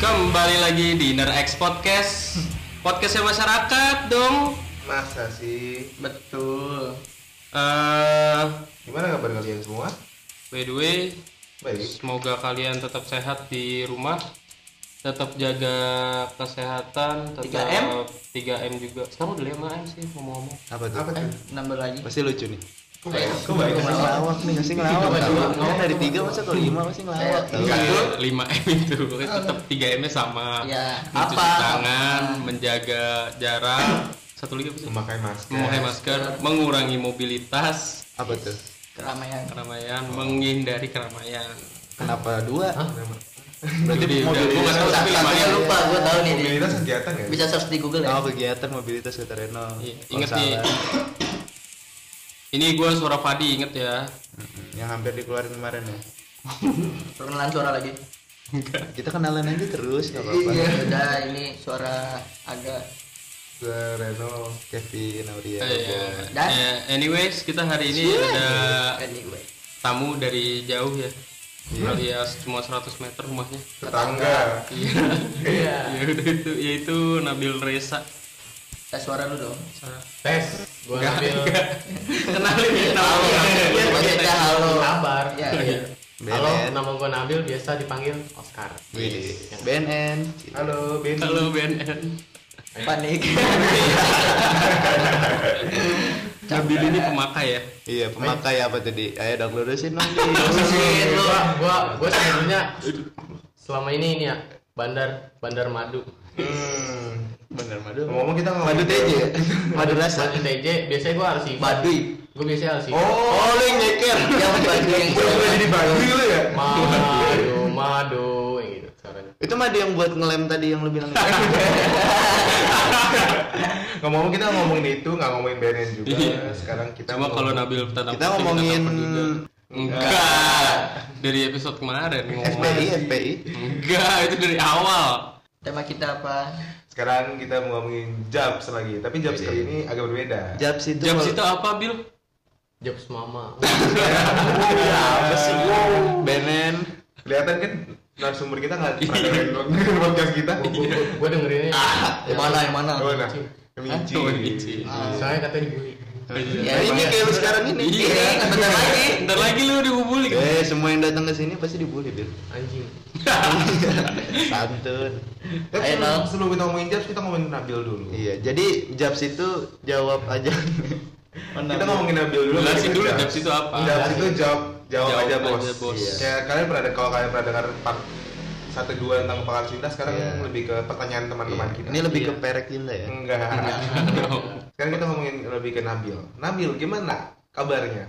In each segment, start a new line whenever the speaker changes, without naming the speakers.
kembali lagi di Inner X Podcast Podcastnya masyarakat dong
Masa sih?
Betul eh
Gimana kabar kalian semua?
By the way
Baik.
Semoga kalian tetap sehat di rumah Tetap jaga kesehatan tetap
3M?
3M juga Sekarang udah 5M sih ngomong-ngomong
apa tuh?
Apa tuh?
nambah lagi
Pasti lucu nih.
Kok baik? Kok
Eh, Baik ngelawak nih, pasti ngelawak.
Coba,
tau.
coba.
Kan dari tiga masa ke lima pasti ngelawak. tau.
Enggak tuh.
5M itu tetap 3M nya sama
Iya.
Mencuci
Apa?
tangan,
Apa?
menjaga jarak Satu lagi apa sih?
Memakai masker.
Memakai masker, mengurangi mobilitas
Apa tuh?
keramaian
keramaian menghindari keramaian
Kenapa dua?
Nama-
Berarti
Jadi,
mobil
udah, gua nggak tahu, tapi
Takutnya
lumayan.
lupa gue tahu nih dia.
Mobilitas kegiatan ya?
bisa search di Google ya
Oh, kegiatan mobilitas kota Reno.
Iya,
Kalau
inget nih.
salah.
ini gue suara Fadi inget ya
Mm-mm, Yang hampir dikeluarin kemarin ya.
perkenalan suara lagi
enggak
Kita kenalan aja terus, nggak apa-apa.
iya udah ini suara agak
Sereno.
Kevin Auria.
Eh,
ya.
Dan?
eh, anyways kita hari ini ada
anyway
tamu dari jauh ya
Iya.
alias cuma 100 meter rumahnya
Tetangga.
iya
iya
ya udah itu yaitu Nabil Reza
tes Eh, suara lu dong
Sa-
Tes, gua ambil
kenalin ya kenalin.
Iya, maksudnya halo
kabar.
ya iya
Halo,
BNN.
nama gua Nabil, biasa dipanggil Oscar.
Wih, BNN.
Halo, Benny.
halo BNN
panik
Nabil ini pemakai ya
Iya, pemakai apa tadi? Ayo dong lurusin dong. Di.
Pusingin lu.
Gua, gua, gua sebenarnya selama ini ini ya bandar bandar madu.
Hmm.
Bener madu.
Ngomong kita ngomong.
Madu TJ. ya? Madu rasa.
Madu TJ, biasanya gua harus ibat.
baduy
Gua biasanya harus ibat.
Oh,
Oh, lu yang nyeker.
yang baduy yang
gue boleh jadi Baduy lu ya?
Madu, madu, yang gitu caranya.
Itu madu yang buat ngelem tadi yang lu bilang.
Ngomong kita ngomongin itu, nggak ngomongin BNN juga.
Iya.
Sekarang kita
cuma
mau-
kalau Nabil tanam
Kita
putih,
ngomongin
tanam juga. enggak dari episode kemarin ngomong
FPI, FPI.
enggak itu dari awal
tema kita apa
sekarang kita mau ngomongin Jabs lagi, tapi Jabs kali ini agak berbeda.
Jabs itu.
Jam situ apa Bil?
Jobs mama.
apa sih? Benen.
Kelihatan kan narasumber kita nggak pernah dengerin podcast kita.
Gua, gua, gua, gua dengerinnya.
yang mana yang mana
Oh, nah, Michi.
Tuh, Michi.
Soalnya katanya dibully.
Nah, ini kayak lu sekarang ini.
Iya, bentar lagi.
Bentar lagi lu dibully.
Eh, semua yang datang ke sini pasti dibully, Bil.
Anjing.
Santun.
Tapi
Ayo,
sebelum,
Nol.
sebelum kita ngomongin Jabs, kita ngomongin Nabil dulu.
Iya, jadi Jabs itu jawab aja.
Kita ngomongin Nabil dulu.
Jelasin
baru
dulu
kita
Jabs itu apa.
Jabs itu jawab jawab
Jawab
aja
aja,
bos.
bos.
Iya.
Ya kalian pernah dengar- kalau kalian pernah dengar part satu dua tentang pakar cinta sekarang
Iya.
lebih ke pertanyaan teman-teman kita.
Ini lebih ke perek Linda ya.
enggak. sekarang kita ngomongin lebih ke Nabil. Nabil gimana kabarnya?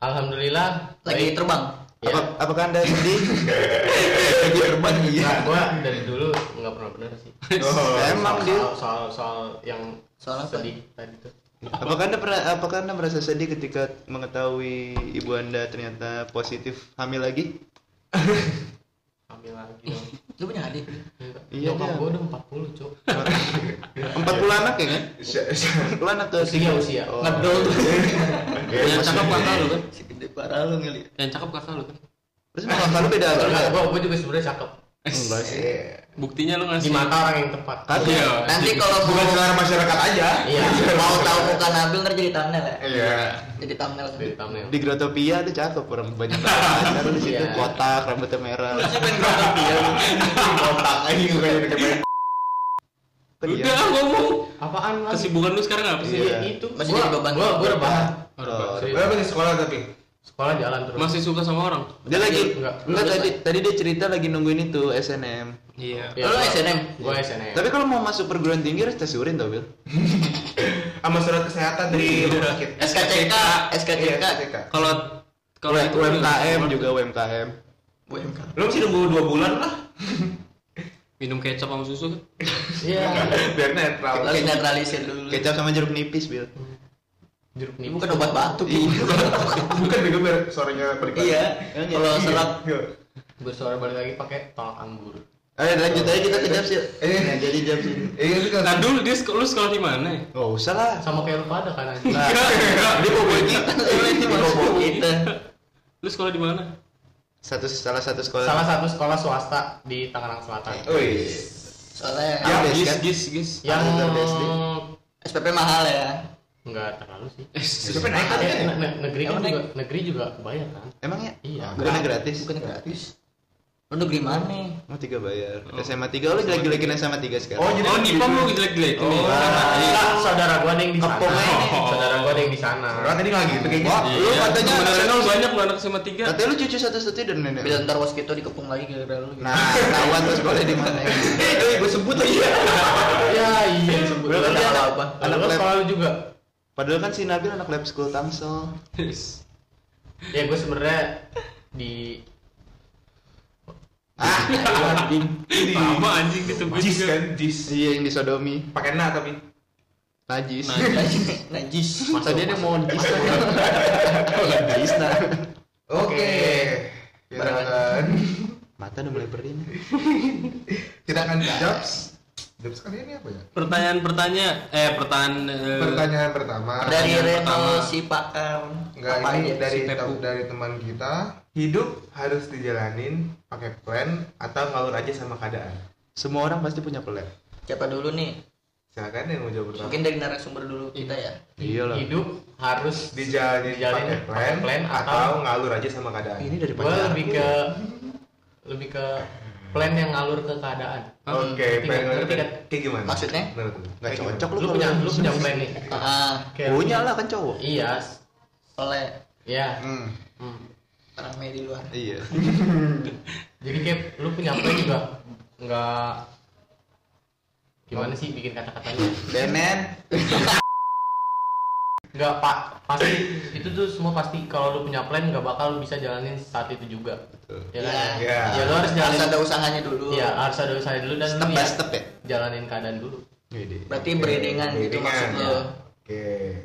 Alhamdulillah.
lagi
baik.
terbang
Ya.
Apa apakah Anda sedih? Iya. Lagi terbang iya.
Nah, gua dari dulu nggak pernah benar sih.
Oh,
Emang
soal,
dia.
soal, soal, soal yang
Soal apa?
sedih tadi tuh.
Apakah Anda pernah apakah Anda merasa sedih ketika mengetahui ibu Anda ternyata positif hamil lagi?
ambil lagi dong
lu punya adik
Iya,
iya nyokap
dia.
gue udah 40 cuk
40 anak ya kan?
Sya- sya-
40 anak tuh.
usia usia
Oh.
ngedol tuh
Iya,
Yang Iya, cakep kakak lu kan?
segede parah lu ngeliat
Yang cakep kakak lu kan?
Terus mau kakak lu beda apa?
Enggak, gue gue juga sebenarnya cakep
Enggak sih.
Iya.
Buktinya lu
di
ngasih.
mata orang yang tepat
Kagak.
Iya.
nanti kalau
Bukan
gua-
selera masyarakat aja.
iya Iya.
mau tahu muka Nabil ntar jadi thumbnail ya
Iya.
jadi thumbnail
dari thumbnail
Di Grotopia tuh cakep orang banyak pacar di situ
Iya.
kotak rambutnya merah.
pengen nonton dia
Kotak ini gue kayaknya kayak
Udah ngomong.
apaan lah
Kesibukan lu sekarang apa sih?
Iya, itu
Masih
Gua-
jadi beban.
gua gue udah bahas
Oh,
Serius.
Berapa di sekolah tapi?
sekolah jalan terus
Masih suka sama orang?
Dia lagi
Enggak.
enggak, tadi tadi dia cerita lagi nungguin itu SNM.
Iya.
Lu SNM?
gue SNM
Tapi kalau mau masuk perguruan tinggi harus tes urin tau, Bil.
Sama surat kesehatan dari rumah sakit.
SKCK
Iya,
SKCK
SKCK.
Kalau kalau itu
Iya, UMKM juga UMKM.
UMK
Lu mesti nunggu dua bulan lah.
minum kecap sama susu kan?
iya
Biar netral.
lalu netralisir dulu
Kecap sama jeruk nipis, Bil.
jeruk
ini
nipis
bukan obat batuk
Bukan bego biar suaranya balik lagi.
iya kalau
Iya.
serap
Iya.
bersuara balik lagi pakai tolak anggur
Ayo Eh, lanjut aja kita ke Japs yuk.
Eh.
Nah, jadi Japs ini.
Iya, itu kan.
Nah dulu dia sek- lu sekolah di mana? ya?
Enggak usah lah.
sama kayak lu pada kan anjing
Nah, dia mau
kita
kita. Ini mau
kita
Lu sekolah di mana?
satu salah satu sekolah Oh, iya.
salah satu sekolah swasta di Tangerang Selatan
Wih.
Soalnya
Ya,
Gis,
kan?
gis, gis.
yang
Standar BSD.
SPP mahal ya.
nggak terlalu sih
Tapi naik kan?
Ya, ne- ne- negeri kan
Emang
juga negeri juga kebayar kan
emangnya ya?
iya
bukannya gratis Iya.
Bukan gratis. Lu negeri mana?
mau Oh, tiga bayar SMA tiga Oh, lo lagi lagi SMA tiga sekarang
Oh, oh di pom lu jelek-jelek nih. Sama, iya.
Nah, saudara gua ada yang di sana
Kepongan ini.
saudara gua ada yang di sana
Orang tadi nggak gitu kayaknya.
Wah, lu
Iya.
katanya
Sebenarnya lu banyak lu anak SMA tiga.
katanya lu cucu satu satu dan nenek
Bila ntar waskito dikepung lagi gara-gara lu. gitu.
nah ketahuan tuh sekolah di mana
Eh, gue sebut lagi.
ya iya sebut
Berarti
Ada
anak-
apa
anak
lu
lab.
sekolah lu juga
padahal kan si Nabil anak lab school Tangsel
ya gua sebenarnya di
ah
Sama anjing ditemuin
Jis
juga.
kan, jis.
iya yang disodomi
Pakai na tapi.
najis
Najis. Najis.
tadi dia mau najis lah najis nah
Oke. Kita akan
mata udah mulai perih nih
kita akan jobs. Jobs kali ini apa ya?
Pertanyaan-pertanyaan eh pertanyaan eh,
Pertanyaan pertama.
Dari
Yang
Reno
pertama.
si pakar.
Enggak
apa ya?
ini
aja?
dari
si Pepu.
tem- dari teman kita. Hidup harus dijalanin pakai plan atau ngalur aja sama keadaan.
semua orang pasti punya pelet
Siapa dulu nih?
Silakan yang mau jawab pertama.
Mungkin dari narasumber dulu kita ya.
iyalah
hidup harus
dijalanin
dijalanin
pakai plan,
plan
atau,
atau-
ngalur aja sama
ya.
keadaan.
ini dari
gue
pacar
lebih ke lebih ke plan yang ngalur ke keadaan
Oke,
Oh,
plan
Ngerti nggak?
ngalur
Ngerti
kayak- kayak gimana?
Maksudnya?
Menurut lu?
nggak
Kayak gimana?
cocok lu
gitu. lu punya lu punya plan nih
Ah,
Kayak-
punya lah kan cowok
iya s-
oleh
ya
hmm
Hmm.
rame di luar.
iya
jadi kayak lu punya plan juga nggak gimana sih bikin kata-katanya
Benen
nggak pak pasti itu tuh semua pasti kalau lu punya plan nggak bakal lu bisa jalanin saat itu juga ya kan
Iya.
ya lu harus
Harus
jalanin
ada usahanya dulu.
ya harus ada usaha dulu dan
step
lu
by
ya
step ya
jalanin keadaan dulu
Berarti
Oke,
beredengan gitu
beredengan.
maksudnya.
iya.
Iya.
Oke.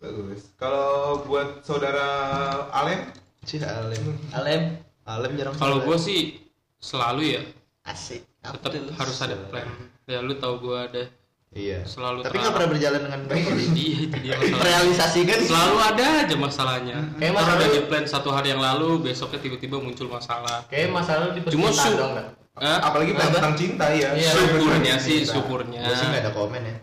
Bagus. Kalau buat saudara Alem,
sih Alem
Alem
Alem jarang
Kalau
sholat.
gue sih selalu ya
asik. Apa
tetap
tuh?
harus ada plan. Ya lu tahu gue ada
iya
selalu
tapi nggak pernah berjalan dengan baik
Iya itu dia masalah.
realisasikan
Selalu ada aja masalahnya.
Kayak
Kayak
masalah
udah
lu-
di plan satu hari yang lalu, besoknya tiba-tiba muncul masalah.
kayak masalah lu di
Cuma
percintaan
su-
doang dah.
Eh,
apalagi plan tentang cinta ya.
Iya.
syukurnya sih,
Cinta.
syukurnya.
gue sih nggak ada komen ya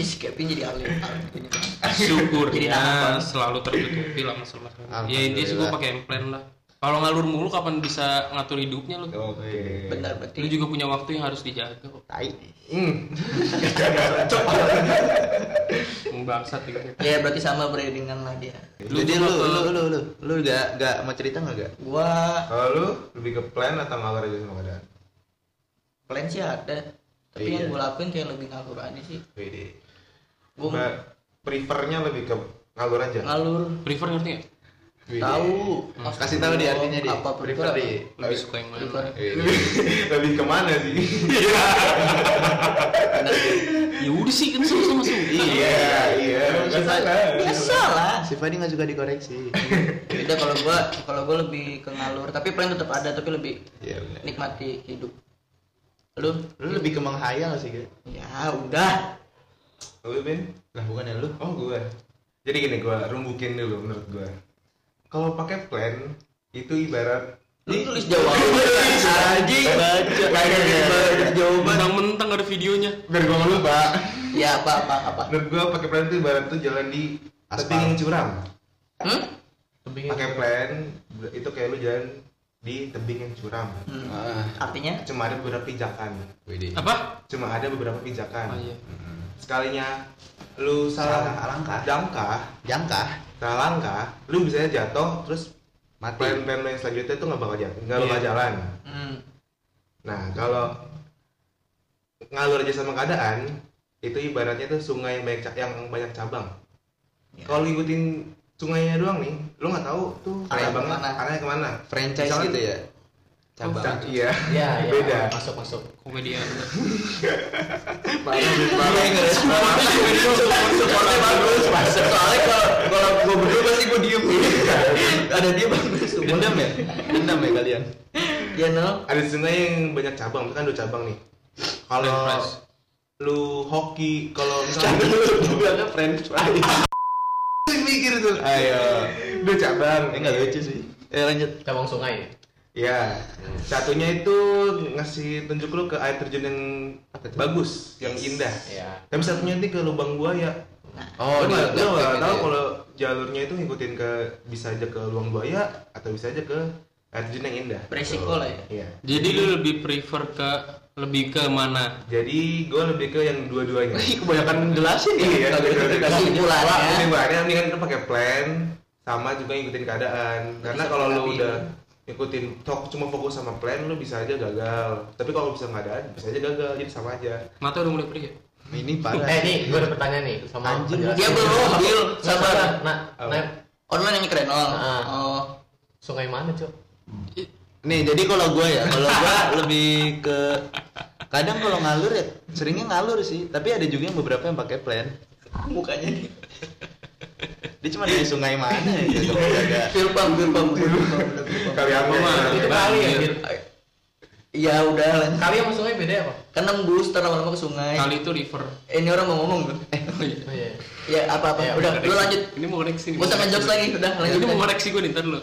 Is Kevin jadi alim. Alim gini. Jadi tahapan.
syukurnya selalu tertutupi lah masalah ya intinya sih gue pakai
Alhamdulillah.
plan lah kalau ngalur mulu kapan bisa ngatur hidupnya lu
Oke.
Benar
lu
berarti.
juga punya waktu yang harus dijaga kok
tai
Hmm.
bangsat gitu
Ya berarti sama ya. beredengan lah dia.
Lu
jadi lu
cuma
lu
ke-
lu lu lu gak gak mau cerita nggak gak
Gua
Kalau lu lebih ke plan atau ngalur aja sama keadaan?
plan sih ada. Tapi
Iya.
yang gua lakuin kayak lebih ngalur aja sih.
Wede.
Gua
Mbak, prefernya lebih ke ngalur aja.
ngalur
prefer ngerti nggak
Wede.
tahu
Iya. Hmm. kasih tahu di artinya di
apa prefer
di
apa?
lebih suka yang mana
Prefer.
lebih kemana sih?
Benar.
ya udah sih kan sama sama iya
Iya, iya. Nggak salah.
Biasa lah.
si Fadi nggak suka dikoreksi
Beda kalau gua kalau gua lebih ke ngalur, tapi plan tetap ada tapi lebih
iya bener.
nikmati hidup. Lu?
lu lebih ke menghayal sih gitu
Ya udah.
Lu Ben?
lah bukan ya lu
Oh gue. Jadi gini gue rumbukin dulu menurut gue. Kalau pakai plan itu ibarat
Lu tulis jawaban.
anjing baca baca jawaban
mentang mentang ada videonya
Iya, biar gue nggak lupa.
ya apa apa apa.
Menurut gue pakai plan itu ibarat tuh jalan di
Aspal.
tebing curam.
Hmm?
Tebingin.
Pakai plan itu kayak lu jalan di tebing yang curam.
Hmm.
ah
Artinya
Cuma ada beberapa pijakan.
wede
apa
Cuma ada beberapa
oh,
pijakan.
iya.
Sekalinya lu
salah
salah
alangkah
langkah,
jangka
salah langkah, lu bisa jatuh terus
mati
plan-plan lu yang selanjutnya itu nggak bakal jalan, nggak
Iya.
bakal jalan.
hmm.
Nah kalau ngalur aja sama keadaan itu ibaratnya tuh sungai yang banyak ca- yang banyak cabang.
Ya.
Kalau lu ikutin sungainya doang nih, lu nggak tahu tuh
Arahnya
cabangnya
kemana.
arahnya kemana.
franchise
Misalkan-
gitu ya
Ca-
cabang
Iya.
ya, ya
Beda.
masuk masuk
komedian
Supportnya bagus, soalnya kalau kalau gue berdua pasti gue diem. Ada dia bagus.
dendam ya dendam ya kalian
Ya no.
Ada sungai yang banyak cabang, kan dua cabang nih. Kalau
Franchise.
lu hoki, kalau misalnya
bilangnya french fries
mikir tuh, ayo dua cabang.
ini nggak lucu sih Eh lanjut.
cabang sungai
Ya, satunya itu ngasih tunjuk lu ke air terjun yang bagus, yang indah.
Iya.
ya
Tapi satunya nanti ke lubang buaya.
Oh,
lu
dia nggak
nggak lu nggak
gitu
tahu
ya.
kalau jalurnya itu ngikutin ke bisa aja ke lubang buaya atau bisa aja ke air terjun yang indah.
Beresiko
Gitu.
lah ya.
Iya.
Jadi lu lebih prefer ke lebih ke mana?
Jadi gue lebih ke yang dua-duanya.
Iya.
Ih, kebanyakan jelasin
Iya,
ya.
dua-duanya.
Kesimpulannya.
Wah, kesimpulannya mendingan lu kan pakai plan sama juga ngikutin keadaan. Karena
Bisa
kalau lu
menghadapi.
udah ngikutin tok cuma fokus sama plan lu bisa aja gagal. Tapi kalau bisa keadaan bisa aja gagal. Jadi sama aja.
Mata udah mulai pergi. ya?
Ini parah.
eh nih gue ada pertanyaan nih sama
Anjing,
penjelasan.
Dia belum deal sama
Sabar, nak
Apa?
Nep,
online yang keren oh.
Ah.
oh.
sungai mana cok
Nih, jadi kalau gue ya, kalau gue lebih ke kadang kalau ngalur ya seringnya ngalur sih, tapi ada juga yang beberapa yang pakai plan.
mukanya nih.
Dia cuma dari sungai mana ya gitu. Ada.
Filbang, filbang, filbang.
Kali apa mah?
itu kali ya
iya.
Bil?
Ya udah lah.
kali sama sungai beda ya, apa
Kan nembus ntar lama-lama ke sungai.
Kali itu river.
Eh, ini orang mau ngomong tuh. Eh,
Oh iya.
oh, iya. iya.
ya apa-apa.
Ya,
udah,
Koreksi.
lu lanjut.
Ini mau koreksi nih.
Gua sama jokes lagi, udah lanjut.
Ini mau
aja.
koreksi gue nih ntar dulu.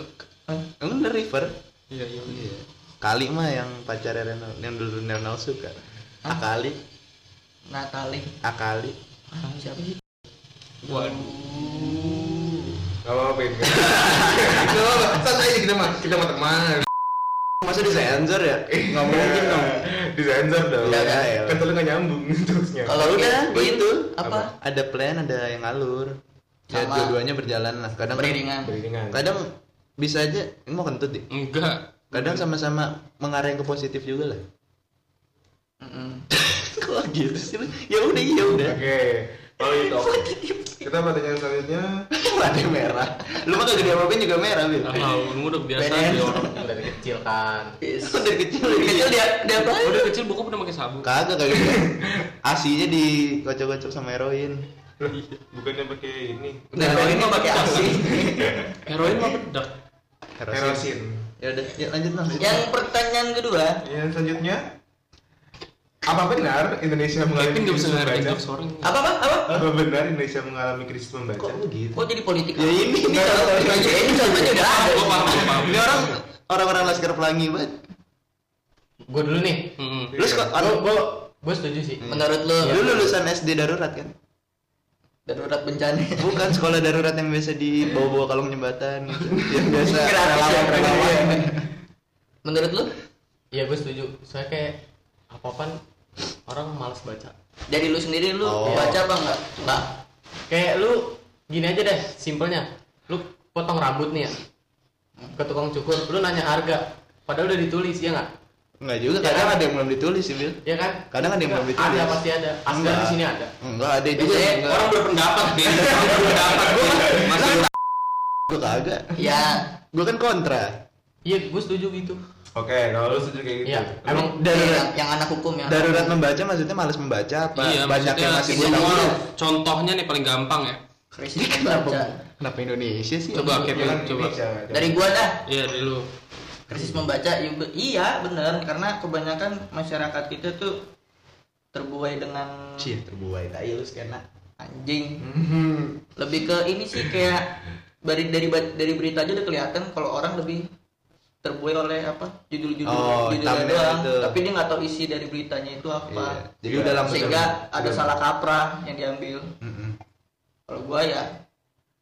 Emang dari river?
Iya iya.
Kali mah yang pacarnya Renal, yang dulu Renal suka. Akali,
Natali.
akali.
Ah, Siapa sih?
Gak apa-apa. Bin. Gak apa-apa. Santai aja kita mah. Kita mah teman.
Masa di sensor ya? Nggak mungkin dong.
Di sensor dong.
Ya, ya, ya.
Iya. Kan lu gak nyambung terusnya.
Kalau
Kalau udah
Bin,
gitu,
apa?
Ada plan, ada yang ngalur. Ya
Sama.
dua-duanya berjalan lah. Kadang
Beriringan.
Beriringan.
kadang bisa aja ini mau kentut deh.
Enggak.
Kadang sama-sama mengarah ke positif juga lah.
Mm-mm.
Kok gitu sih? lu? Ya udah, ya udah.
Oke. Kalau itu oke. Kita pertanyaan selanjutnya.
Ada yang merah. Lu mah kagak diapa juga merah, Bil.
Kalau lu udah biasa
Beda.
di orang.
dari kecil kan
Yes.
Dari kecil
Dari
gitu.
kecil dia dia apa?
Udah kecil bokap udah pakai sabuk.
Kagak kagak. Asinya dikocok-kocok sama heroin.
Loh, Bukannya pakai ini.
Nah, ini mah pakai asi.
Heroin Kan mah bedak.
Herosin.
Ya udah, ya lanjut dong.
Yang pertanyaan kedua,
Yang Iya, selanjutnya. Apa benar Indonesia
Kevin
mengalami
nggak bisa
krisis
ngarepin
membaca?
jokes orang.
apa apa apa?
Apa benar Indonesia mengalami krisis membaca?
Kok begitu?
Kok gitu? jadi politik?
Ya ini
ini kalau ini contohnya udah
Ah,
ada.
Gue paham gue paham.
Ini orang orang-orang laskar pelangi banget.
gue dulu nih
Mm-mm.
Iya.
Lu suka
gue
orang
gue gue setuju sih
Menurut lu
lu lulusan SD darurat kan?
darurat bencana.
Bukan sekolah darurat yang biasa dibawa-bawa kalung jembatan gitu. Yang biasa
Gratis ya,
relawan relawan.
Menurut lu
iya gue setuju soalnya kayak apa apaan orang malas baca
dari lu sendiri lu
Oh.
baca apa enggak? Enggak.
kayak lu gini aja deh simpelnya lu potong rambut nih ya ke tukang cukur lu nanya harga padahal udah ditulis ya nggak
Enggak juga, kadang ada yang belum ditulis sih, Bil.
ya kan
Kadang ada yang belum ditulis.
ada pasti ada asgar di sini ada
Enggak, ada juga.
Biasanya
yang Enggak.
Orang berpendapat Ben. Orang berpendapat gue masih
Gua kagak.
Ya,
Gua kan kontra.
iya gue setuju gitu
Oke, kalau lu setuju kayak gitu.
iya emang
yang,
Darurat
yang anak hukum ya. yang
darurat membaca maksudnya malas membaca apa? Banyak yang
Iya, maksudnya
masih
semua
buta huruf.
Contohnya nih paling gampang ya.
Krisis membaca.
Kenapa Indonesia sih?
Coba Kevin,
iya,
Jangan
coba.
Indonesia, jangan.
Dari gua dah
Iya, dari lu.
krisis membaca iya- iya bener karena kebanyakan masyarakat kita tuh terbuai dengan
Cie, terbuai tai lu skena.
anjing
Mm-hmm.
Mhm.
lebih ke ini sih kayak dari dari ba- dari berita aja udah kelihatan kalau orang lebih terbuai oleh apa judul-judul
Oh,
judulnya
thumbnail
doang
itu.
tapi dia nggak tahu isi dari beritanya itu apa
Iya. Jadi udah langsung
sehingga ada salah kaprah yang diambil
Mm-mm.
kalau gua ya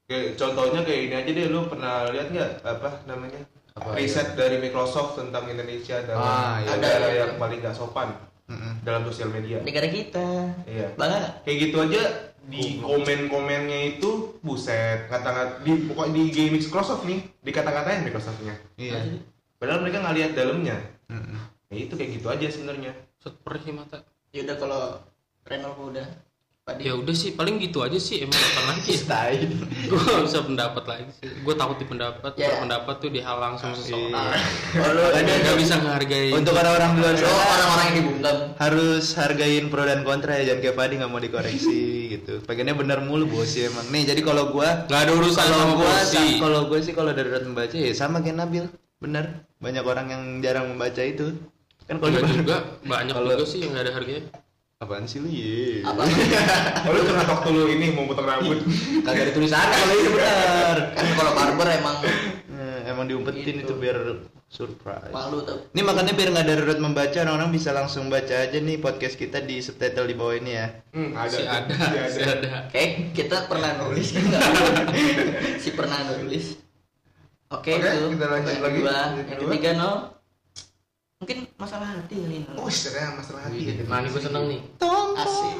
Kayak contohnya kayak ini aja deh, lu pernah lihat nggak apa namanya?
Apa,
riset dari Microsoft tentang Indonesia dan
Ah, iya.
negara
Ada, iya.
yang paling nggak sopan
Mm-mm.
dalam sosial media.
negara kita
Iya.
bangga nggak?
Kayak gitu aja di komen-komennya itu buset kata-kata di pokoknya di game Microsoft nih dikata-katain Microsoftnya
Iya.
padahal mereka nggak lihat dalamnya
Mm-mm.
ya itu kayak gitu aja sebenarnya
Set perih nih mata.
ya udah kalau Renal gua udah tadi
Ya udah sih, paling gitu aja sih. Emang apa lagi?
Tai.
gue gak bisa pendapat lagi sih gue takut di pendapat
Ya.
pendapat tuh dihalang sama seseorang
Iya.
kalau
Dia gak bisa menghargai
Untuk orang-orang luar
kalau
sana
orang-orang yang dibungkam
harus hargain pro dan kontra ya jangan kayak Fadi nggak mau dikoreksi gitu. Pengennya bener mulu bos ya emang. Nih jadi kalau gua
nggak ada urusan sama
kalau gua
kursi
sa- kalau gua sih kalau darurat membaca ya sama kayak Nabil. Bener. Banyak orang yang jarang membaca itu. Kan kalau
Nggak
di-
juga banyak
Kalau-
juga sih yang gak ada harganya
Apaan sih lu? Ye.
apa
Oh, lu kena waktu lu ini mau potong rambut
Kagak ada tulisannya kalau ini bener.
kan kalau barber emang
Eh, emang diumpetin itu,
Gitu.
biar surprise.
malu tapi
Ini makanya biar nggak darurat membaca, orang-orang bisa langsung baca aja nih podcast kita di subtitle di bawah ini ya.
Hmm, ada.
Si ada,
Iya,
si
ada.
ada.
Kayak kita pernah nulis kan nggak? si pernah nulis. Oke,
Oke,
itu.
kita lanjut
yang
lagi.
kedua.
Yang
yang
kedua.
ketiga no. Mungkin masalah hati kali ya, ini.
Oh, sebenarnya masalah
Iya,
hati.
Iya,
gitu.
ya.
Nah, ini gue seneng nih.
Asik.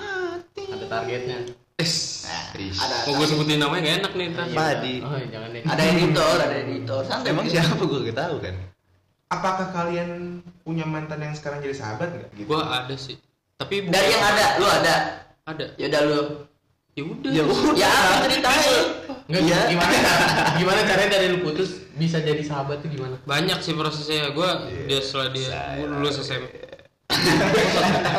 Ada targetnya.
Es.
Ada.
Mau gue sebutin namanya gak enak nih ntar.
Padi.
Oh, jangan deh.
Iya.
Ada editor, ada editor. Santai.
Emang
gitu.
siapa gue gak tahu kan?
Apakah kalian punya mantan yang sekarang jadi sahabat nggak? Gitu.
Gue ada sih. Tapi bukan-
Dari yang ada, lu ada.
Ada.
Ya udah lu.
Ya udah.
Ya udah.
Ya apa ceritanya?
Nggak,
Iya.
gimana gimana caranya dari lu putus bisa jadi sahabat tuh gimana?
Banyak sih prosesnya. Gue dia setelah dia gue lulus SMP.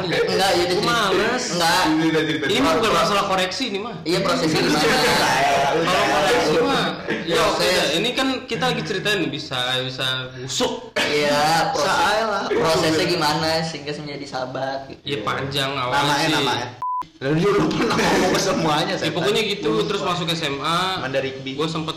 Enggak, jadi
Gua males.
Enggak.
Ini udah cerita
Ini
doang.
bukan masalah koreksi nih mah.
Iya prosesnya gimana?
Kalau koreksi mah, ya
Proses.
udah. Ini kan kita lagi ceritain nih, bisa bisa busuk.
Iya, proses. Prosesnya gimana sehingga menjadi sahabat gitu.
Ya panjang awalnya
Namanya
sih.
namanya. Lalu dia lupa nama ngomong semuanya.
Ya
setan.
pokoknya gitu. Terus masuk SMA.
Mandarikbi.
gue sempet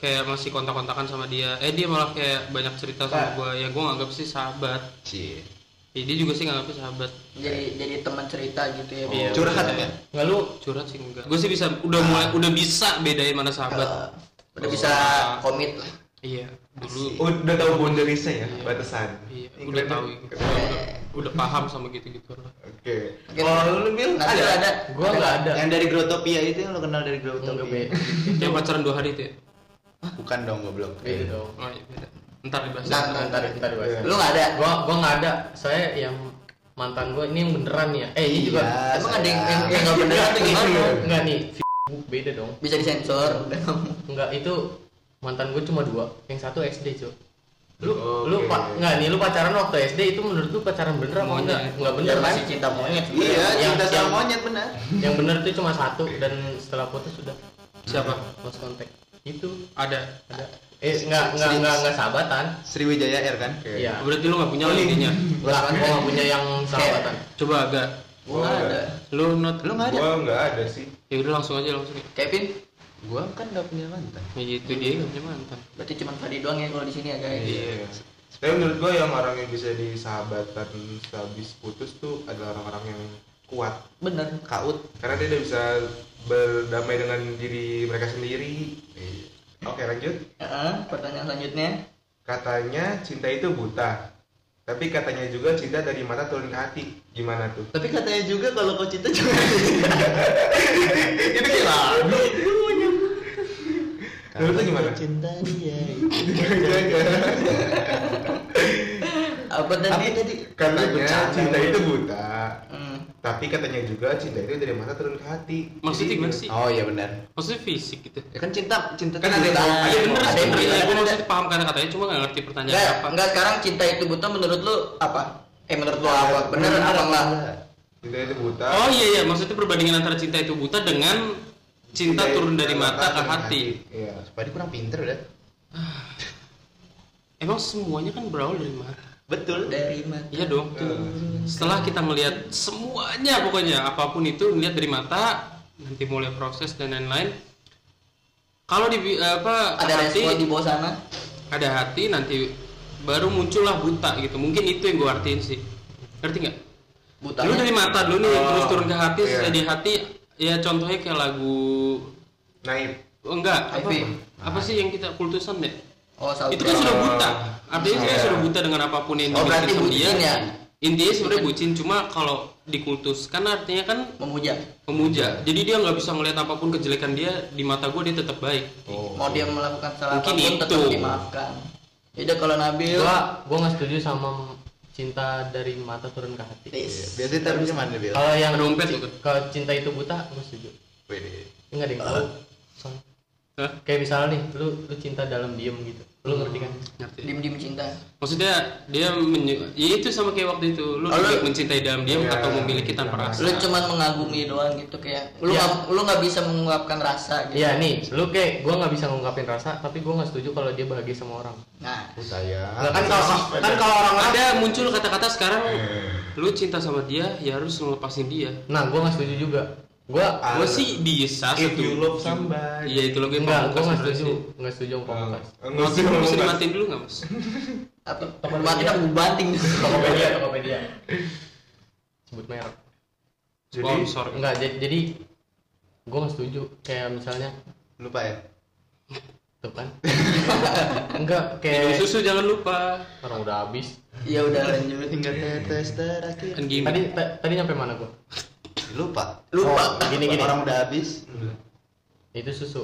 kayak masih kontak-kontakan sama dia eh dia malah kayak banyak cerita
Nah.
sama gue ya gue nganggap sih sahabat
Cie.
ya, dia juga sih nganggap sahabat
Jadi jadi teman cerita gitu ya.
Iya,
Curhat
udah.
kan?
Nggak lu
curhat sih enggak gue sih bisa udah mulai udah bisa bedain mana
Ah.
sahabat
Kalau udah bisa komit lah.
iya dulu
Oh, Udah tahu boundariesnya ya, batasan.
iya
Ini
udah
keren
tahu
ya.
gitu. udah, udah paham sama gitu-gitu lah
Oke.
Oke.
Kalau lu bil
Nanti
ada.
ada.
gua nggak ada.
Yang dari Grotopia itu yang lo kenal dari
Nggak
Grotopia.
beda.
yang pacaran dua hari itu ya
Bukan dong goblok.
Beda dong.
oh iya beda ntar dibahas
Ntar,
Ntar, ntar, ntar dibahas.
Lu nggak ada.
Gua gua nggak ada. Saya yang mantan gua ini yang beneran ya. Eh,
Iya.
ini juga
Emang ada yang yang yang nggak bener atau gimana?
Enggak nih, v- beda dong.
Bisa disensor. Udah kamu.
Enggak, itu mantan gue cuma dua. Yang satu SD, Cok. Lu lu
Oke.
pak nggak nih lu pacaran waktu SD itu menurut lu pacaran bener apa
Monyet.
enggak? Enggak bener
Biar
kan?
masih cinta monyet.
Iya,
Yang-
cinta
yang-
sama monyet benar.
Yang bener tuh cuma satu dan setelah putus sudah
siapa
lost contact. Itu
ada
ada eh enggak enggak enggak enggak sahabatan.
Sriwijaya Air kan?
Iya.
berarti lu nggak punya lah intinya
Enggak, gua nggak punya yang sahabatan.
coba agak
Gua nggak ada.
lu not
Lu nggak ada?
Gua nggak ada sih.
ya udah langsung aja langsung ya
Kevin,
Gua kan nggak punya mantan.
itu dia nggak punya mantan
berarti cuma Fadi doang ya kalau di sini ya guys.
Iya. Tapi menurut gue yang orang yang bisa disahabatan habis putus tuh adalah orang-orang yang kuat.
Bener.
Kaut.
Karena dia udah bisa berdamai dengan diri mereka sendiri.
Iya.
Oke lanjut.
Heeh, pertanyaan selanjutnya.
Katanya cinta itu buta. Tapi katanya juga cinta dari mata turun ke hati. Gimana tuh?
Tapi katanya juga kalau kau cinta juga. Itu kayak
Menurut lu gimana?
Cinta dia.
Apa
Apa
tadi?
tadi?
Katanya cinta itu buta.
Hmm.
Tapi katanya juga cinta itu dari mata turun ke hati.
Maksudnya
Jadi-
gimana sih?
Oh iya benar.
Maksudnya fisik gitu.
Ya kan cinta cinta
Kan ada
tuh buta.
yang- ada yang bener
Iya, Bener sih,
yang
bener.
bilang.
Gue maksudnya paham kata-katanya, cuma gak ngerti pertanyaan
Enggak,
apa.
enggak sekarang cinta itu buta menurut lu apa? Eh menurut lu apa? Bener apa enggak?
Cinta itu buta.
Oh iya iya, maksudnya perbandingan antara cinta itu buta dengan cinta
itu
turun dari mata ke
turun
hati.
Iya.
Padi kurang pinter udah.
Emang semuanya kan berawal dari mata.
Betul.
Dari mata.
Iya dong. Setelah kita melihat semuanya pokoknya apapun itu melihat dari mata, nanti mulai proses dan lain-lain. Kalau di apa ke
Ada
hati,
respon di bawah sana.
ada hati nanti baru muncullah buta gitu. Mungkin itu yang gue artiin sih. Ngerti nggak?
Buta.
Lu dari mata dulu nih, terus turun ke hati,
iya.
jadi hati ya contohnya kayak lagu
Naif.
oh, enggak apa
IP.
apa sih yang kita kultusan deh?
Oh, salah.
Itu kan sudah buta. Artinya kita
Iya.
sudah buta dengan apapun yang
Oh,
dimiliki
berarti
sama dia.
bucin ya?
Intinya sebenarnya bucin cuma kalau dikultuskan artinya kan
Memuja.
memuja. Jadi dia nggak bisa ngelihat apapun kejelekan dia di mata gue dia tetap baik.
Oh.
Mau dia melakukan salah
Mungkin
apapun
itu.
tetap dimaafkan. Yaudah kalau Nabil
Gua gua nggak setuju sama cinta dari mata turun ke hati.
Tis.
Biasanya terus mana Bil?
Kalau yang
Ada dompet juga.
kalau cinta itu buta, gue setuju.
Wede.
Enggak deh, tahu. Soalnya.
Hah?
Kayak misalnya nih, lu lu cinta dalam diem gitu. Lu ngerti kan?
Ngerti?
Dim-dim cinta.
Maksudnya dia menyu- ya itu sama kayak waktu itu lu
Oh, lu-
lebih mencintai dalam diam
Iya.
atau memiliki tanpa rasa.
Lu cuman mengagumi doang gitu kayak lu
Iya.
nggak lu nggak bisa mengungkapkan rasa gitu.
Iya nih, lu kayak gua nggak bisa ngungkapin rasa, tapi gua nggak setuju kalau dia bahagia sama orang.
Nah,
Saya.
Nah, kan kalau kan kalau orang-orang
Ada muncul
Iya.
kata-kata sekarang lu cinta sama dia ya harus ngelepasin dia.
Nah, gua nggak setuju juga. Gua
Ah,
Gue sih bisa
If you
setuju.
love somebody.
Iya itu lagi
enggak, gua nggak setuju, Hmm. nggak setuju sama
Enggak,
pamungkas.
enggak
Mas,
sih,
Mas, bisa
enggak.
dimatiin dulu nggak mas?
Apa?
Teman
Mati
dia.
aku banting.
Tokopedia, Tokopedia. Sebut merek.
Jadi
Sponsor.
Enggak, jadi, jadi gue nggak setuju. Kayak misalnya,
lupa ya.
tuh kan? Enggak,
Minum
kayak
susu jangan lupa.
orang udah habis.
Ya udah lanjut.
Hingga tetes terakhir.
Kan gini.
Tadi ta- tadi nyampe mana gua?
Lupa.
Lupa. gini gini.
Orang udah habis.
Itu susu.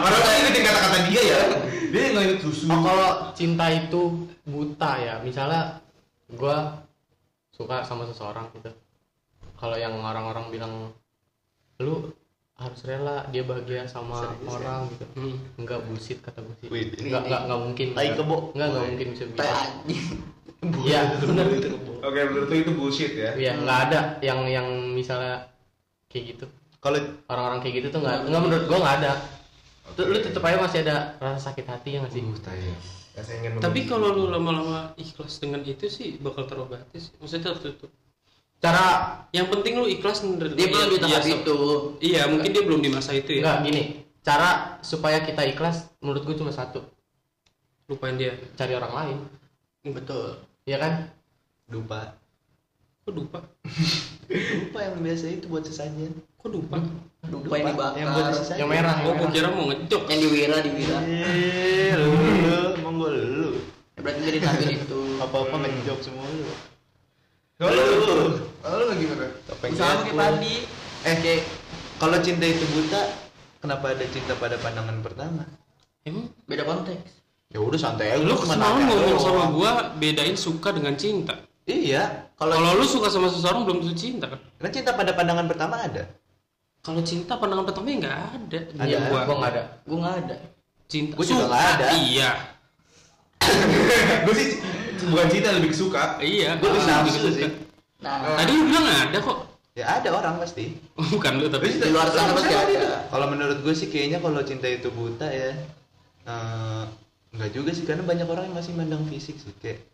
Orang tadi ngikutin kata-kata dia ya. Dia nggak inget susu.
Oh, kalau cinta itu buta ya misalnya gua suka sama seseorang gitu kalau yang orang-orang bilang lu harus rela dia bahagia sama orang gitu
Hmm.
enggak bullshit kata gue sih
ya?" Wih, ini-
enggak enggak enggak mungkin
Tai
Enggak.
kebo.
enggak enggak mungkin bisa
Tai
begitu
anjing.
iya bener
Oke, menurut lu itu bullshit ya.
iya enggak ada yang yang misalnya kayak gitu
Kalau
orang-orang kayak gitu tuh enggak enggak menurut gua enggak ada Tuh, lu tetep aja masih ada rasa sakit hati ya nggak sih
Uh, tanya. Saya ingin
Tapi kalau lu lama-lama ikhlas dengan itu sih bakal terobati sih. Maksudnya tertutup.
cara
Yang penting lu ikhlas bener
Dia belum di tahap itu.
Iya, mungkin dia belum di masa itu ya.
enggak gini cara supaya kita ikhlas menurut gue cuma satu
Lupain dia.
cari orang lain
Betul.
ya kan
lupa.
Kok lupa?
Lupa yang biasa itu buat sesajen.
Kok lupa?
Lupa yang dibakar.
Yang buat
Yang,
sesajen.
yang merah
Oh,
yang
gua
merah.
kira mau ngejok.
diwira diwira.
Eh, lu lu emang gua lu.
Ya, berarti dari tahap itu.
Apa-apa ngejok semua lu.
Kalau Oh, lu, kalau lu gimana?
Usaha pakai padi.
Eh, kayak kalau cinta itu buta, kenapa ada cinta pada pandangan pertama?
Emang
Beda konteks.
Ya udah santai aja.
lu
cuma
semalam
nanya
ngomong
doang.
sama gua bedain suka dengan cinta.
Iya, kalau
Kalau lu suka sama seseorang belum tentu cinta kan?
kan cinta pada pandangan pertama ada.
Kalau cinta pandangan pertamanya nggak ada.
Ada.
Iya, gua.
gua nggak ada
Gue nggak ada.
Cinta.
Gua juga
Suka,
nggak ada.
Iya.
Gue sih bukan cinta lebih suka.
Iya.
Gua tuh
gua
nafsu
juga suka.
sih.
Nah,
Tadi lu bilang nggak ada kok.
Ya ada orang pasti.
Bukan lu tapi.
di luar sana pasti ada.
Kalau menurut gue sih kayaknya kalau cinta itu buta ya. eh, enggak juga sih karena banyak orang yang masih mandang fisik sih kayak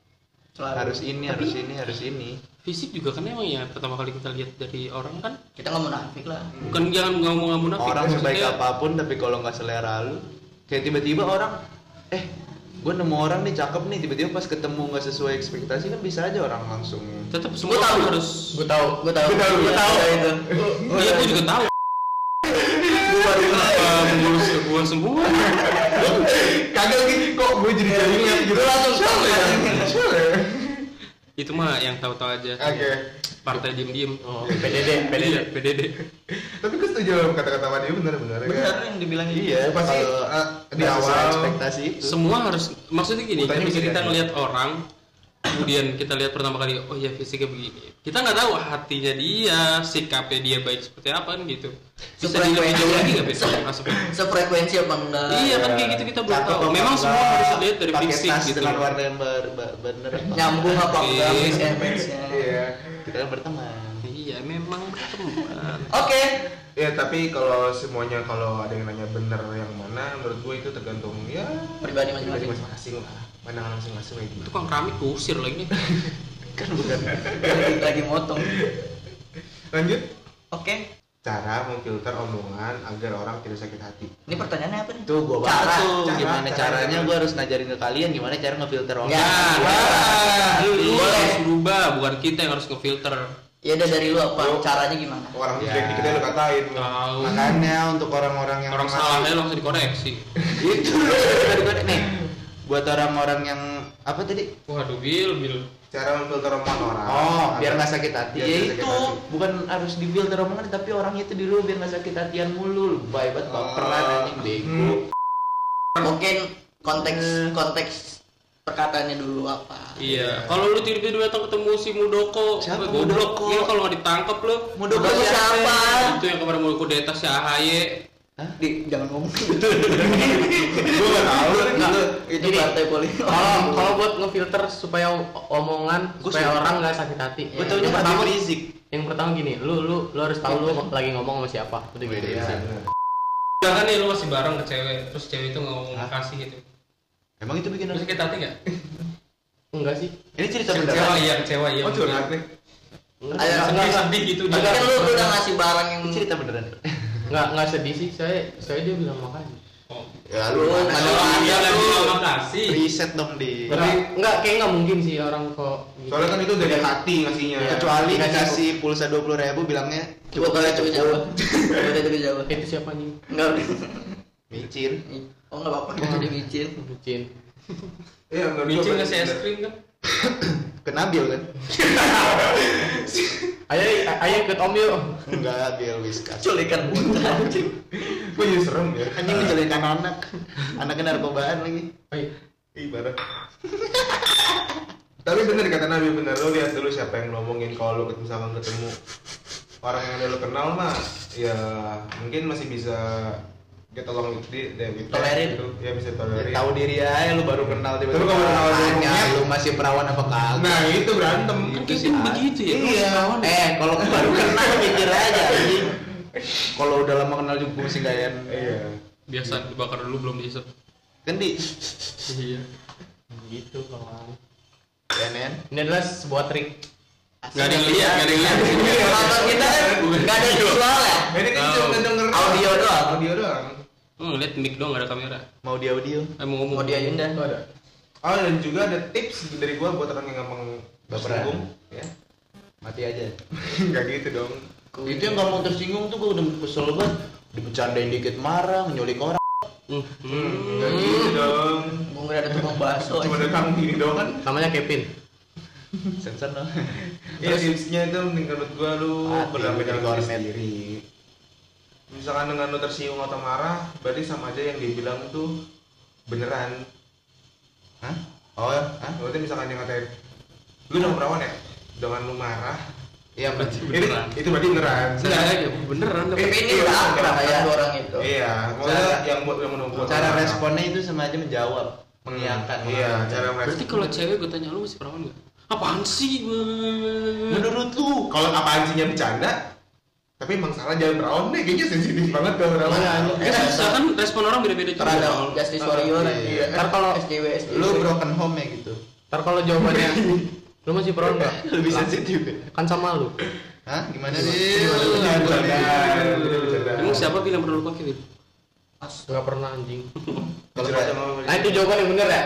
Selalu.
harus ini, harus ini, harus ini.
Fisik juga kan emang ya pertama kali kita lihat dari orang kan
Kita nggak munafik lah.
bukan jangan ngomong ngomong munafik
Orang
maksudnya
sebaik apapun tapi kalau nggak selera lu, kayak tiba-tiba orang eh gue nemu orang nih cakep nih tiba-tiba pas ketemu nggak sesuai ekspektasi kan bisa aja orang langsung
tetap semua
tahu.
orang harus
gua tahu
Gue tahu. Gue tahu. itu.
iya gua juga tahu gua kenapa mengurus ke gua semua
Kagak lagi kok gue jadi jadi lihat gitu langsung siapa ya? Siapa ya?
itu mah yang tahu-tahu aja
Oke.
partai diem-diem
oh, PDD PDD
Iya, PDD
Tapi gue setuju sama kata-kata Iya, Madi bener-bener
Benar yang dibilang
iya
Pasti
kalau
eh, di
nggak sesuai
awal
ekspektasi itu
semua harus maksudnya gini
Utangnya
ketika
bisa
kita
jadi.
ngelihat orang kemudian kita lihat pertama kali oh ya fisiknya begini kita nggak tahu hatinya dia sikapnya dia baik seperti apa kan gitu bisa
Seperti-
lebih jauh lagi nggak bisa masuknya
Sefrekuensi apa enggak?
iya kan kayak gitu kita belum
Cakep
tahu
apa
memang semua
enggak,
harus dilihat dari
pakai
fisik
tas
gitu
dengan warna yang ber- ba- bener apa
Nyambung apa enggak?
Iya.
Make sense, make sense.
Iya.
kita kan berteman
iya memang teman
Oke.
Ya tapi kalau semuanya kalau ada yang nanya bener yang mana, menurut gue itu tergantung ya
Pribadi
pribadi
masing-masing.
masing-masing lah. Pandangan masing-masing kayak gitu.
tukang keramik kusir lagi nih
kan bukan
Lagi- Lagi motong.
Lanjut.
Oke.
Cara memfilter omongan agar orang tidak sakit hati.
Ini pertanyaannya apa nih?
tuh
Cara,
gua banget tuh
cara,
gimana
cara.
caranya gua harus ngajarin ke kalian gimana cara ngefilter
Ya.
orang
Iya.
Nah, lu, lu
Boleh.
harus berubah, bukan kita yang harus ngefilter.
Ya udah dari lu apa?
Lu-
Caranya gimana?
Orang
Ya.
jelek dikit aja lu katain.
Tahu.
Makanya untuk orang-orang yang
Orang
masih-
salah aja langsung dikoreksi.
itu loh daripada- nih buat orang-orang yang apa tadi
Waduh, Bil, Bil.
cara memfilter omongan orang.
oh
Agar-
biar nggak sakit hati
biar
ya
nggak sakit
itu
hati.
bukan harus di filter omongan tapi orangnya itu dulu biar nggak sakit hatian mulu lebay banget baperan
Oh.
anjing bego
Hmm.
Mungkin konteks konteks perkataannya dulu apa?
Iya. Kalau lu tiba-tiba datang ketemu si Mudoko,
Siapa
eh, goblok.
Mudoko?
Iya, kalau nggak ditangkap lu.
Mudoko
Mudoko siapa?
Itu yang kemarin Mudoko di atas si Ahaye.
Di, jangan ngomong
Gue nggak Iya. tahu.
itu
Gini.
partai politik.
kalau kalau buat ngefilter supaya o- omongan
Gua
supaya
suka. Iya,
orang nggak sakit hati
gue
Ya,
taunya
yang
Habib
pertama
Rizik
yang pertama gini lu lu lu harus tahu lu lagi ngomong sama siapa udah gitu
Iya.
Jangan nih lu masih bareng ke cewek, terus cewek itu ngomong kasih gitu.
emang itu bikin
Terus
orang
sakit hati nggak?
enggak sih
ini cerita beneran
Kecewa iya, kecewa iya.
Oh curhat nih.
Enggak,
Ada
enggak,
sedih-sedih gitu
Tapi
dia.
kan lu lu udah ngasih barang yang
Ini cerita beneran.
enggak, enggak sedih sih, saya saya dia bilang makasih.
Ya lu
Lu-
mana?
Kalau dia lagi terima kasih.
Riset dong di.
Tapi enggak kayak enggak mungkin sih orang kok gitu.
Soalnya kan itu dari hati ngasihnya.
Kecuali
Nggak
Iya. dikasih pulsa dua puluh ribu bilangnya
coba kalian coba jawab. Coba coba jawab.
gitu. itu siapa nih?
Enggak.
micir.
Oh enggak apa-apa jadi micin.
Bucin.
Iya, enggak
Micin ngasih es krim kan?
Ke Nabil kan?
Ayo ayo ikut Om yuk.
Enggak, Bill Whiskas.
Culikan bocah anjing.
Gue jadi serem ya.
Anjing menculikan anak. Anaknya narkobaan lagi.
Ayo.
Ibarat. Tapi bener kata Nabi bener lu lihat dulu siapa yang ngomongin kalau lu ket- misalkan ketemu orang yang udah lu kenal mah ya mungkin masih bisa dia tolong di dia bisa-
Tolerin.
gitu. ya bisa
Ya,
tolerin.
Tahu diri aja lu baru kenal tiba-tiba.
Terus kalau kenal orang
Tanya,
monyet?
lu masih perawan apa kagak?
Nah itu berantem.
Kan kayak begitu ya.
Iya. Eh, kalau baru kenal mikir aja anjing. Kalau udah lama kenal juga masih ya. gayan.
Iya.
Biasa dibakar dulu belum dihisap.
Kan di
Iya.
Gitu kawan.
CNN.
Ini adalah sebuah trik.
Gak ada yang lihat, gak ada yang lihat.
Iya. Nonton kita kan enggak ada visual ya.
Ini kan
Tahu.
cuma denger
Audio doang.
Audio doang.
Lu ngeliat mic doang gak ada kamera.
Mau di audio.
Eh mau ngomong.
Mau dia Yunda.
Itu ada.
Oh dan juga ada tips dari gua buat orang yang gampang
Baperan.
tersinggung, ya.
Mati aja.
Enggak gitu dong.
Itu yang gak mau tersinggung tuh gua udah kesel banget. Dipecandain dikit marah, nyulik orang.
Hmm. Hmm.
Enggak gitu dong.
Mau nggak ada tukang bakso.
Cuma
anjing.
ada kamu gini doang kan.
Namanya Kevin.
Sensor dong.
Ya tipsnya itu menurut gua lu
Hati,
berdamai dengan
diri
diri
sendiri.
sendiri. Misalkan dengan lu tersinggung atau marah, berarti sama aja yang dibilang tuh beneran.
Hah? Oh, hah?
Berarti misalkan yang ngatain lu udah perawan ya dengan lu marah,
Iya, berarti.
itu itu berarti beneran.
Nggak ada yang beneran.
Tapi ini
Iya,
udah akrab
kayak-
kan dua orang itu.
Iya, maksudnya yang buat yang menunggu
Cara responnya itu sama aja menjawab, mengiyakan.
Iya, cara merespon.
Berarti kalau cewek gue tanya lu masih perawan gak? Apaan sih gue?
menurut lu kalau apaan sihnya bercanda tapi emang salah jalan perawan deh kayaknya sensitif banget kalau perawan
Kan susah kan respon orang beda-beda juga.
Terhadap Justice Warrior.
Iya.
Ntar kalau SJW SJW.
Lu broken home ya gitu.
Ntar kalau jawabannya lu masih perawan enggak?
Lebih sensitif ya.
Kan sama lu.
Hah? Gimana
Iya. Jangan bercanda,
sih?
jangan bercanda.
Emang siapa bilang perlu pakai Bin?
Enggak pernah anjing.
Kalau
Jujur aja,
pacar-
Mama.
Nah itu jawaban yang bener ya?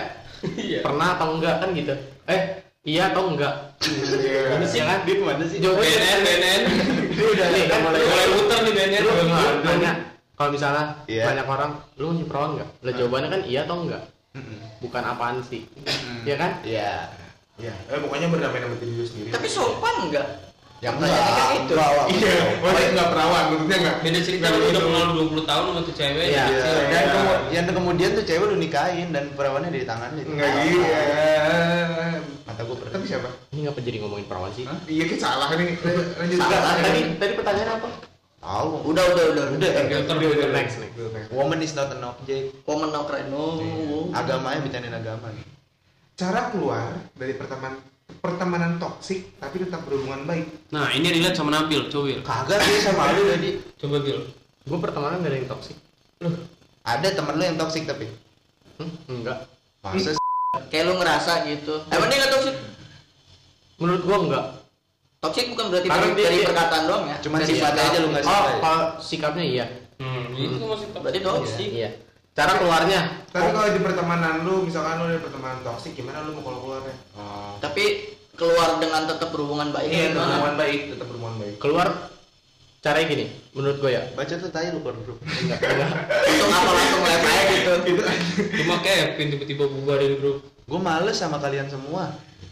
Pernah atau enggak kan gitu? Eh, iya atau enggak?
Iya.
Iya kan?
Dia kemana sih?
Jawabannya
BNN, BNN.
Itu udah nih kan mulai
Mulai muter nih BNN.
lu lu nanya kalau misalnya
Iya.
banyak orang lu masih perawan enggak? Lah jawabannya kan iya atau enggak? Bukan apaan sih. Iya kan?
Iya.
Iya. eh pokoknya berdamai sama diri lu sendiri
Tapi sopan enggak?
Yang
Pertanyaannya kan itu.
Bawa.
iya pokoknya nggak perawan maksudnya nggak
Beda cerita lu
nggak
udah
gitu.
kenal 20 tahun sama tuh cewek.
Iya.
ya.
Iya.
Iya.
Dan kemu- Yang kemudian tuh cewek lu nikahin dan perawannya dari tangan dia.
nggak gitu
iya.
ya.
Mata gua pernah.
tapi siapa
Ini ngapa jadi ngomongin perawan sih?
iya kayak salah nih lanjut
Enggak, tadi tadi pertanyaannya apa?
Tahu.
Udah udah udah.
Udah.
Nggak,
Ntar
udah, udah,
next,
udah.
next.
Udah, next.
Woman is not an object.
Komen no
Oh.
kreno.
Agamanya bicarain agama nih.
cara keluar dari pertemanan pertemanan toksik tapi tetap berhubungan baik
Nah, ini relate sama Nabil, coba Bil.
Kagak sih sama lu jadi
Coba Bil.
Gue pertemanan gak ada yang toksik.
ada temen lu yang toksik tapi
Hmm? Enggak.
masa sih?
Kayak lu ngerasa gitu. Emang dia nggak toksik?
Menurut gua enggak.
Toksik bukan berarti
Karena
dari,
dia-
dari
dia-
perkataan doang ya.
Cuman
Dari
sifatnya
sikap.
aja lu nggak
Oh,
suka. ya?
kalau sikapnya iya.
Hmm, itu masih
Berarti toksik.
Iya. Cara keluarnya
tapi kalau di pertemanan lu misalkan lu dari pertemanan toksik gimana lu mau kalau keluarnya oh.
Tapi keluar dengan tetap berhubungan baik gitu.
Iya, tetap
gimana?
berhubungan baik, tetap berhubungan baik.
keluar caranya gini menurut gue ya
Baca tuh tai lu grup.
enggak enggak
Langsung apa langsung lem aja gitu.
Cuma Kevin tiba-tiba bubar dari grup.
Gua males sama kalian semua.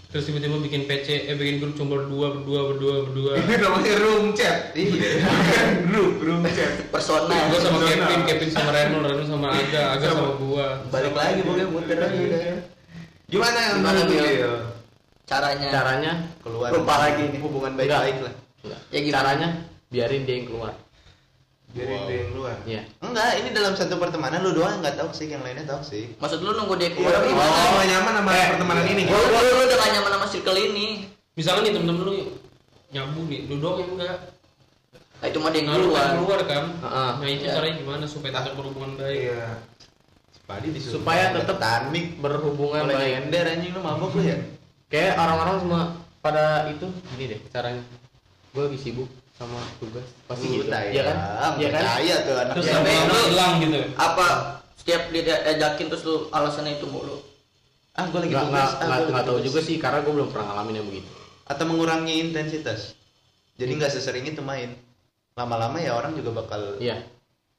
Terus tiba-tiba bikin PC, eh bikin grup cuma berdua, berdua, berdua, berdua.
Ini namanya room chat.
Iya.
Bukan group, room chat.
Personal.
Gue sama
Zona.
Kevin, Kevin sama Renul, Renul sama Aga, Aga sama gua.
Balik lagi Iya. pokoknya muter lagi udah.
Gimana yang
Gimana,
menurut lu,
Bil?
Bil?
Caranya.
caranya
Keluar.
Lupa lagi nih.
Hubungan baik-baik lah.
enggak.
Ya gimana?
caranya biarin dia yang keluar
Jadi dia yang luar.
Iya.
Enggak, ini dalam satu pertemanan lu doang nggak toksik, yang lainnya toksik.
Maksud lu nunggu dia
Iya,
keluar
tapi
gimana?
gua nggak nyaman
Eh.
sama pertemanan ini.
Lu lu lu udah gak nyaman sama circle ini.
Misalkan nih temen-temen lu nyabu nih, lu doang yang enggak.
Nah, itu mah dia yang
Nah, lu
keluar.
kan keluar kan?
Heeh.
Nah, itu
Iya.
caranya gimana supaya tetap berhubungan baik?
Iya.
Padi disuruh
supaya tetap
tanik
berhubungan
mulai
baik
nyender anjing lu mabok lu ya.
kayak orang-orang semua pada itu gini deh caranya gue lagi sibuk sama tugas
Pasti
pasti gitu
buta
ya kan ya kan
Percaya tuh anak
terus
Ya,
lama
tapi
Iya.
lama
lu-
hilang gitu
apa setiap dia ajakin terus lu alasannya itu mulu ah gue lagi
nggak nggak
tugas ah,
nggak
gua
nggak
Gitu.
lagi
tahu
tugas.
juga sih karena gue belum pernah ngalamin yang begitu
atau mengurangi intensitas. Jadi nggak sesering itu main. Lama-lama ya orang juga bakal
iya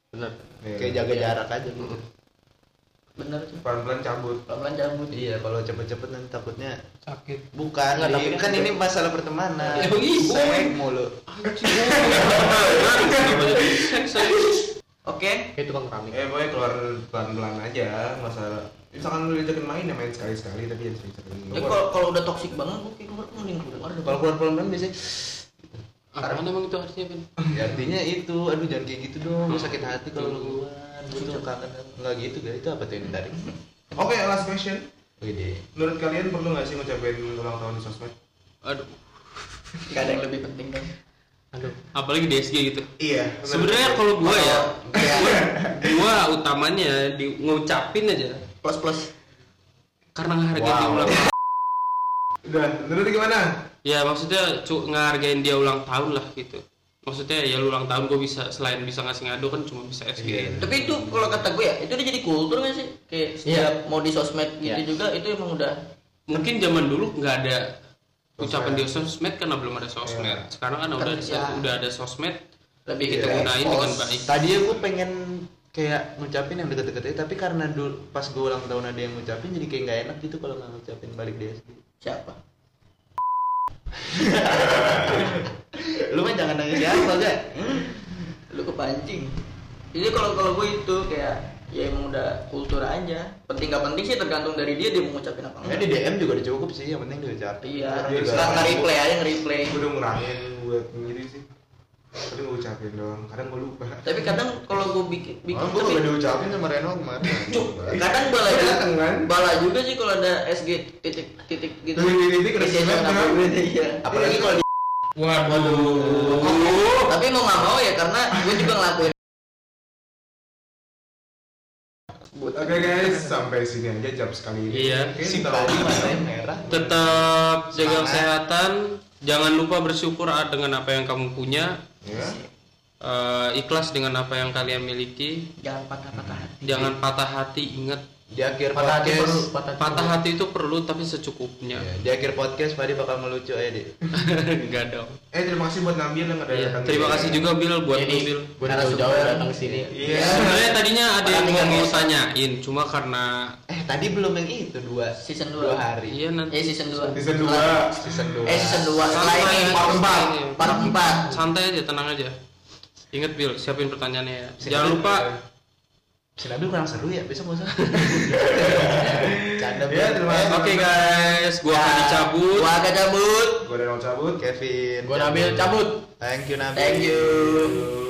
benar
kayak jaga jarak aja gitu.
Iya. bener tuh
pelan-pelan cabut
pelan cabut
Iya, kalau cepet-cepet nanti takutnya
sakit
bukan.
Nggak, tapi
Dik.
kan-
kan ini masalah pertemanan.
Ya, iya.
Sek mulu.
seks seks.
oke
kayak tukang keramik
eh boy keluar pelan-pelan aja masalah misalkan lu diajakin main ya main sekali-sekali tapi jangan sering-sering
Ya,
Tapi kalau kalau udah toksik banget gue kayak keluar mending keluar
Kalau
deh.
keluar pelan-pelan biasanya
Apaan emang itu artinya Ben?
ya artinya itu aduh jangan kayak gitu dong gua sakit hati kalau lu keluar gua tuh kangen nggak gitu guys itu apa tuh yang menarik Oh, iya.
oke last question
Wede
menurut kalian perlu nggak sih ngucapin ulang tahun di sosmed
Aduh,
Gak ada yang lebih penting kan.
aduh
apalagi DSG gitu.
iya
Sebenarnya kalau gua ya, gua utamanya di ngucapin aja
Plus plus.
karena ngehargain dia ulang tahun.
udah menurut lu gimana
Ya maksudnya cu- ngehargain dia ulang tahun lah gitu. Maksudnya ya lu ulang tahun gua bisa selain bisa ngasih ngadu kan cuma bisa
Iya.
SG.
Tapi itu kalau kata gue ya itu udah jadi kultur gak sih? Kayak setiap mau di sosmed gitu
Iya.
juga itu emang udah
Mungkin zaman dulu nggak ada ucapan di sosmed karena belum ada sosmed. Sekarang kan udah
Iya.
udah ada sosmed,
lebih
Iya.
gitu.
kita gunain dengan baik.
tadinya gue pengen kayak ngucapin yang deket-deket aja tapi karena dulu pas gue ulang tahun ada yang ngucapin jadi kayak nggak enak gitu kalau nggak ngucapin balik dia
Siapa?
lu mah jangan nanya siapa gak
Lu kepancing. Jadi kalau kalau gue itu kayak ya emang udah kultur aja. Penting gak penting sih tergantung dari dia dia mau ngucapin apa
ya
enggak.
di DM juga udah cukup sih yang penting diucapin
Iya.
Orang
Iya,
juga-
sekarang-
Nge-replay aja nge-replay.
gue udah ngurangin buat sendiri sih tapi gue ucapin doang kadang gue lupa
Tapi kadang kalau gue bikin bikin
Orang gue
tapi-
udah diucapin sama Reno kemarin
Cuk, kadang bala juga,
Dateng kan?
bala juga sih kalau ada SG titik titik gitu.
Titik-titik ada
Isinya
semen,
kenapa
kan?
gue deh, iya.
apalagi kalau di
Tapi mau nggak mau ya karena gue juga ngelakuin. Buat
oke guys sampai sini aja jam sekali ini
Iya.
Oke,
si
kita-
Padi matanya merah
Tetap jaga
Semangat.
kesehatan, jangan lupa bersyukur dengan apa yang kamu punya.
ya
Eh, ikhlas dengan apa yang kalian miliki
Jangan patah-patah hati.
jangan patah hati ingat
di akhir
patah hati
podcast
perlu patah hati
patah hati itu perlu tapi secukupnya
Ya, di akhir podcast Padi bakal melucu aja deh
enggak dong
eh terima kasih buat Nabil yang ada
Iya,
datang
terima
juga.
kasih juga Bill buat lu, Bill
gue udah jauh-jauh
kan
datang sini
iya
sebenarnya tadinya ada yang
Perhatikan
mau
ya.
tanyain cuma karena
eh tadi belum yang itu dua
Season
dua
dua.
hari
iya nanti
Eh season 2.
season dua
season dua
Eh season 2 setelah
Santai,
ini part
santai.
4. Part 4.
santai aja tenang aja ingat Bill siapin pertanyaannya ya jangan lupa
si Nabil kurang seru ya besok nggak usah canda
Ya, terima kasih.
oke guys gua
Ya.
akan dicabut
Gua agak cabut.
gue Reno cabut
Kevin
gue nabil cabut
thank you Nabil
Thank you.
Cabut.